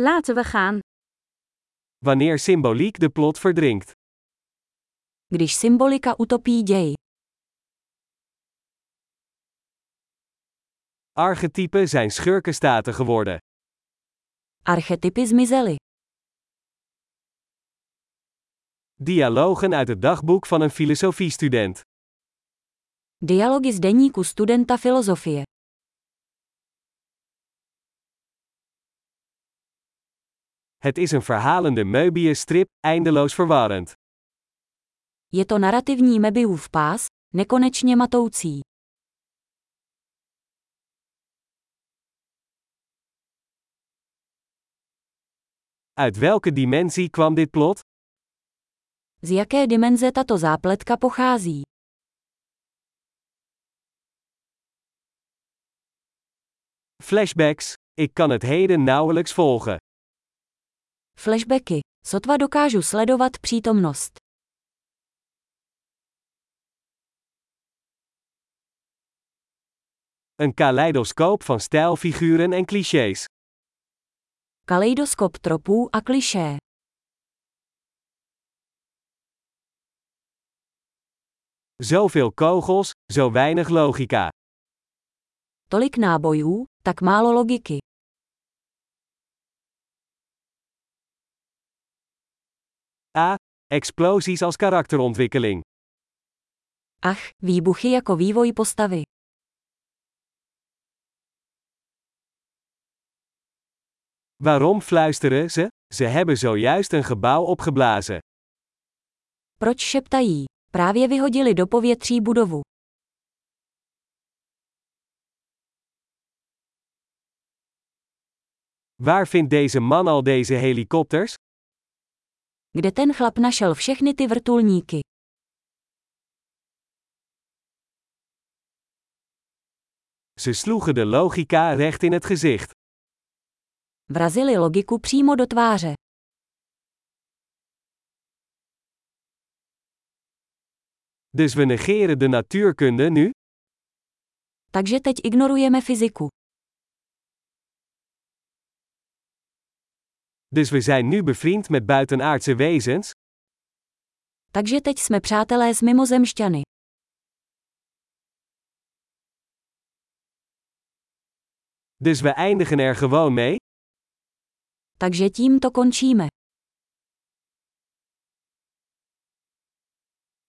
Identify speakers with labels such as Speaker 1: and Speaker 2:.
Speaker 1: Laten we gaan.
Speaker 2: Wanneer symboliek de plot verdrinkt.
Speaker 3: Když symbolika utopí děj.
Speaker 2: Archetypen zijn schurkenstaten geworden.
Speaker 3: Archetypy zmizely.
Speaker 2: Dialogen uit het dagboek van een filosofiestudent.
Speaker 3: Dialogy z deníku studenta filozofie.
Speaker 2: Het is een verhalende Möbius-strip, eindeloos verwarrend.
Speaker 3: Je to narativní Mebiův pás, nekonečně matoucí.
Speaker 2: Uit welke dimensie kwam dit plot?
Speaker 3: Z jaké dimenze tato zápletka pochází?
Speaker 2: Flashbacks, ik kan het heden nauwelijks volgen.
Speaker 3: Flashbacky. Sotva dokážu sledovat přítomnost.
Speaker 2: Een kaleidoscoop van stijlfiguren en clichés.
Speaker 3: Kaleidoskop tropů a klišé.
Speaker 2: Zoveel kogels, zo weinig logica.
Speaker 3: Tolik nábojů, tak málo logiky.
Speaker 2: Explosies als karakterontwikkeling.
Speaker 3: Ach, výbuchy jako vývoj postavy.
Speaker 2: Waarom fluisteren ze? Ze hebben zojuist een gebouw opgeblazen.
Speaker 3: Proč šeptají? Právě vyhodili do povětří budovu.
Speaker 2: Waar vindt deze man al deze helikopters?
Speaker 3: Kde ten chlap našel všechny ty vrtulníky?
Speaker 2: Ze sloegen de logica recht in het gezicht.
Speaker 3: Vrazili logiku přímo do tváře.
Speaker 2: Dus we negeren de natuurkunde nu?
Speaker 3: Takže teď ignorujeme fyziku.
Speaker 2: Dus we zijn nu bevriend met buitenaardse wezens?
Speaker 3: Takže teď jsme přátelé s mimozemšťany.
Speaker 2: Dus we eindigen er gewoon mee?
Speaker 3: Takže tím to končíme.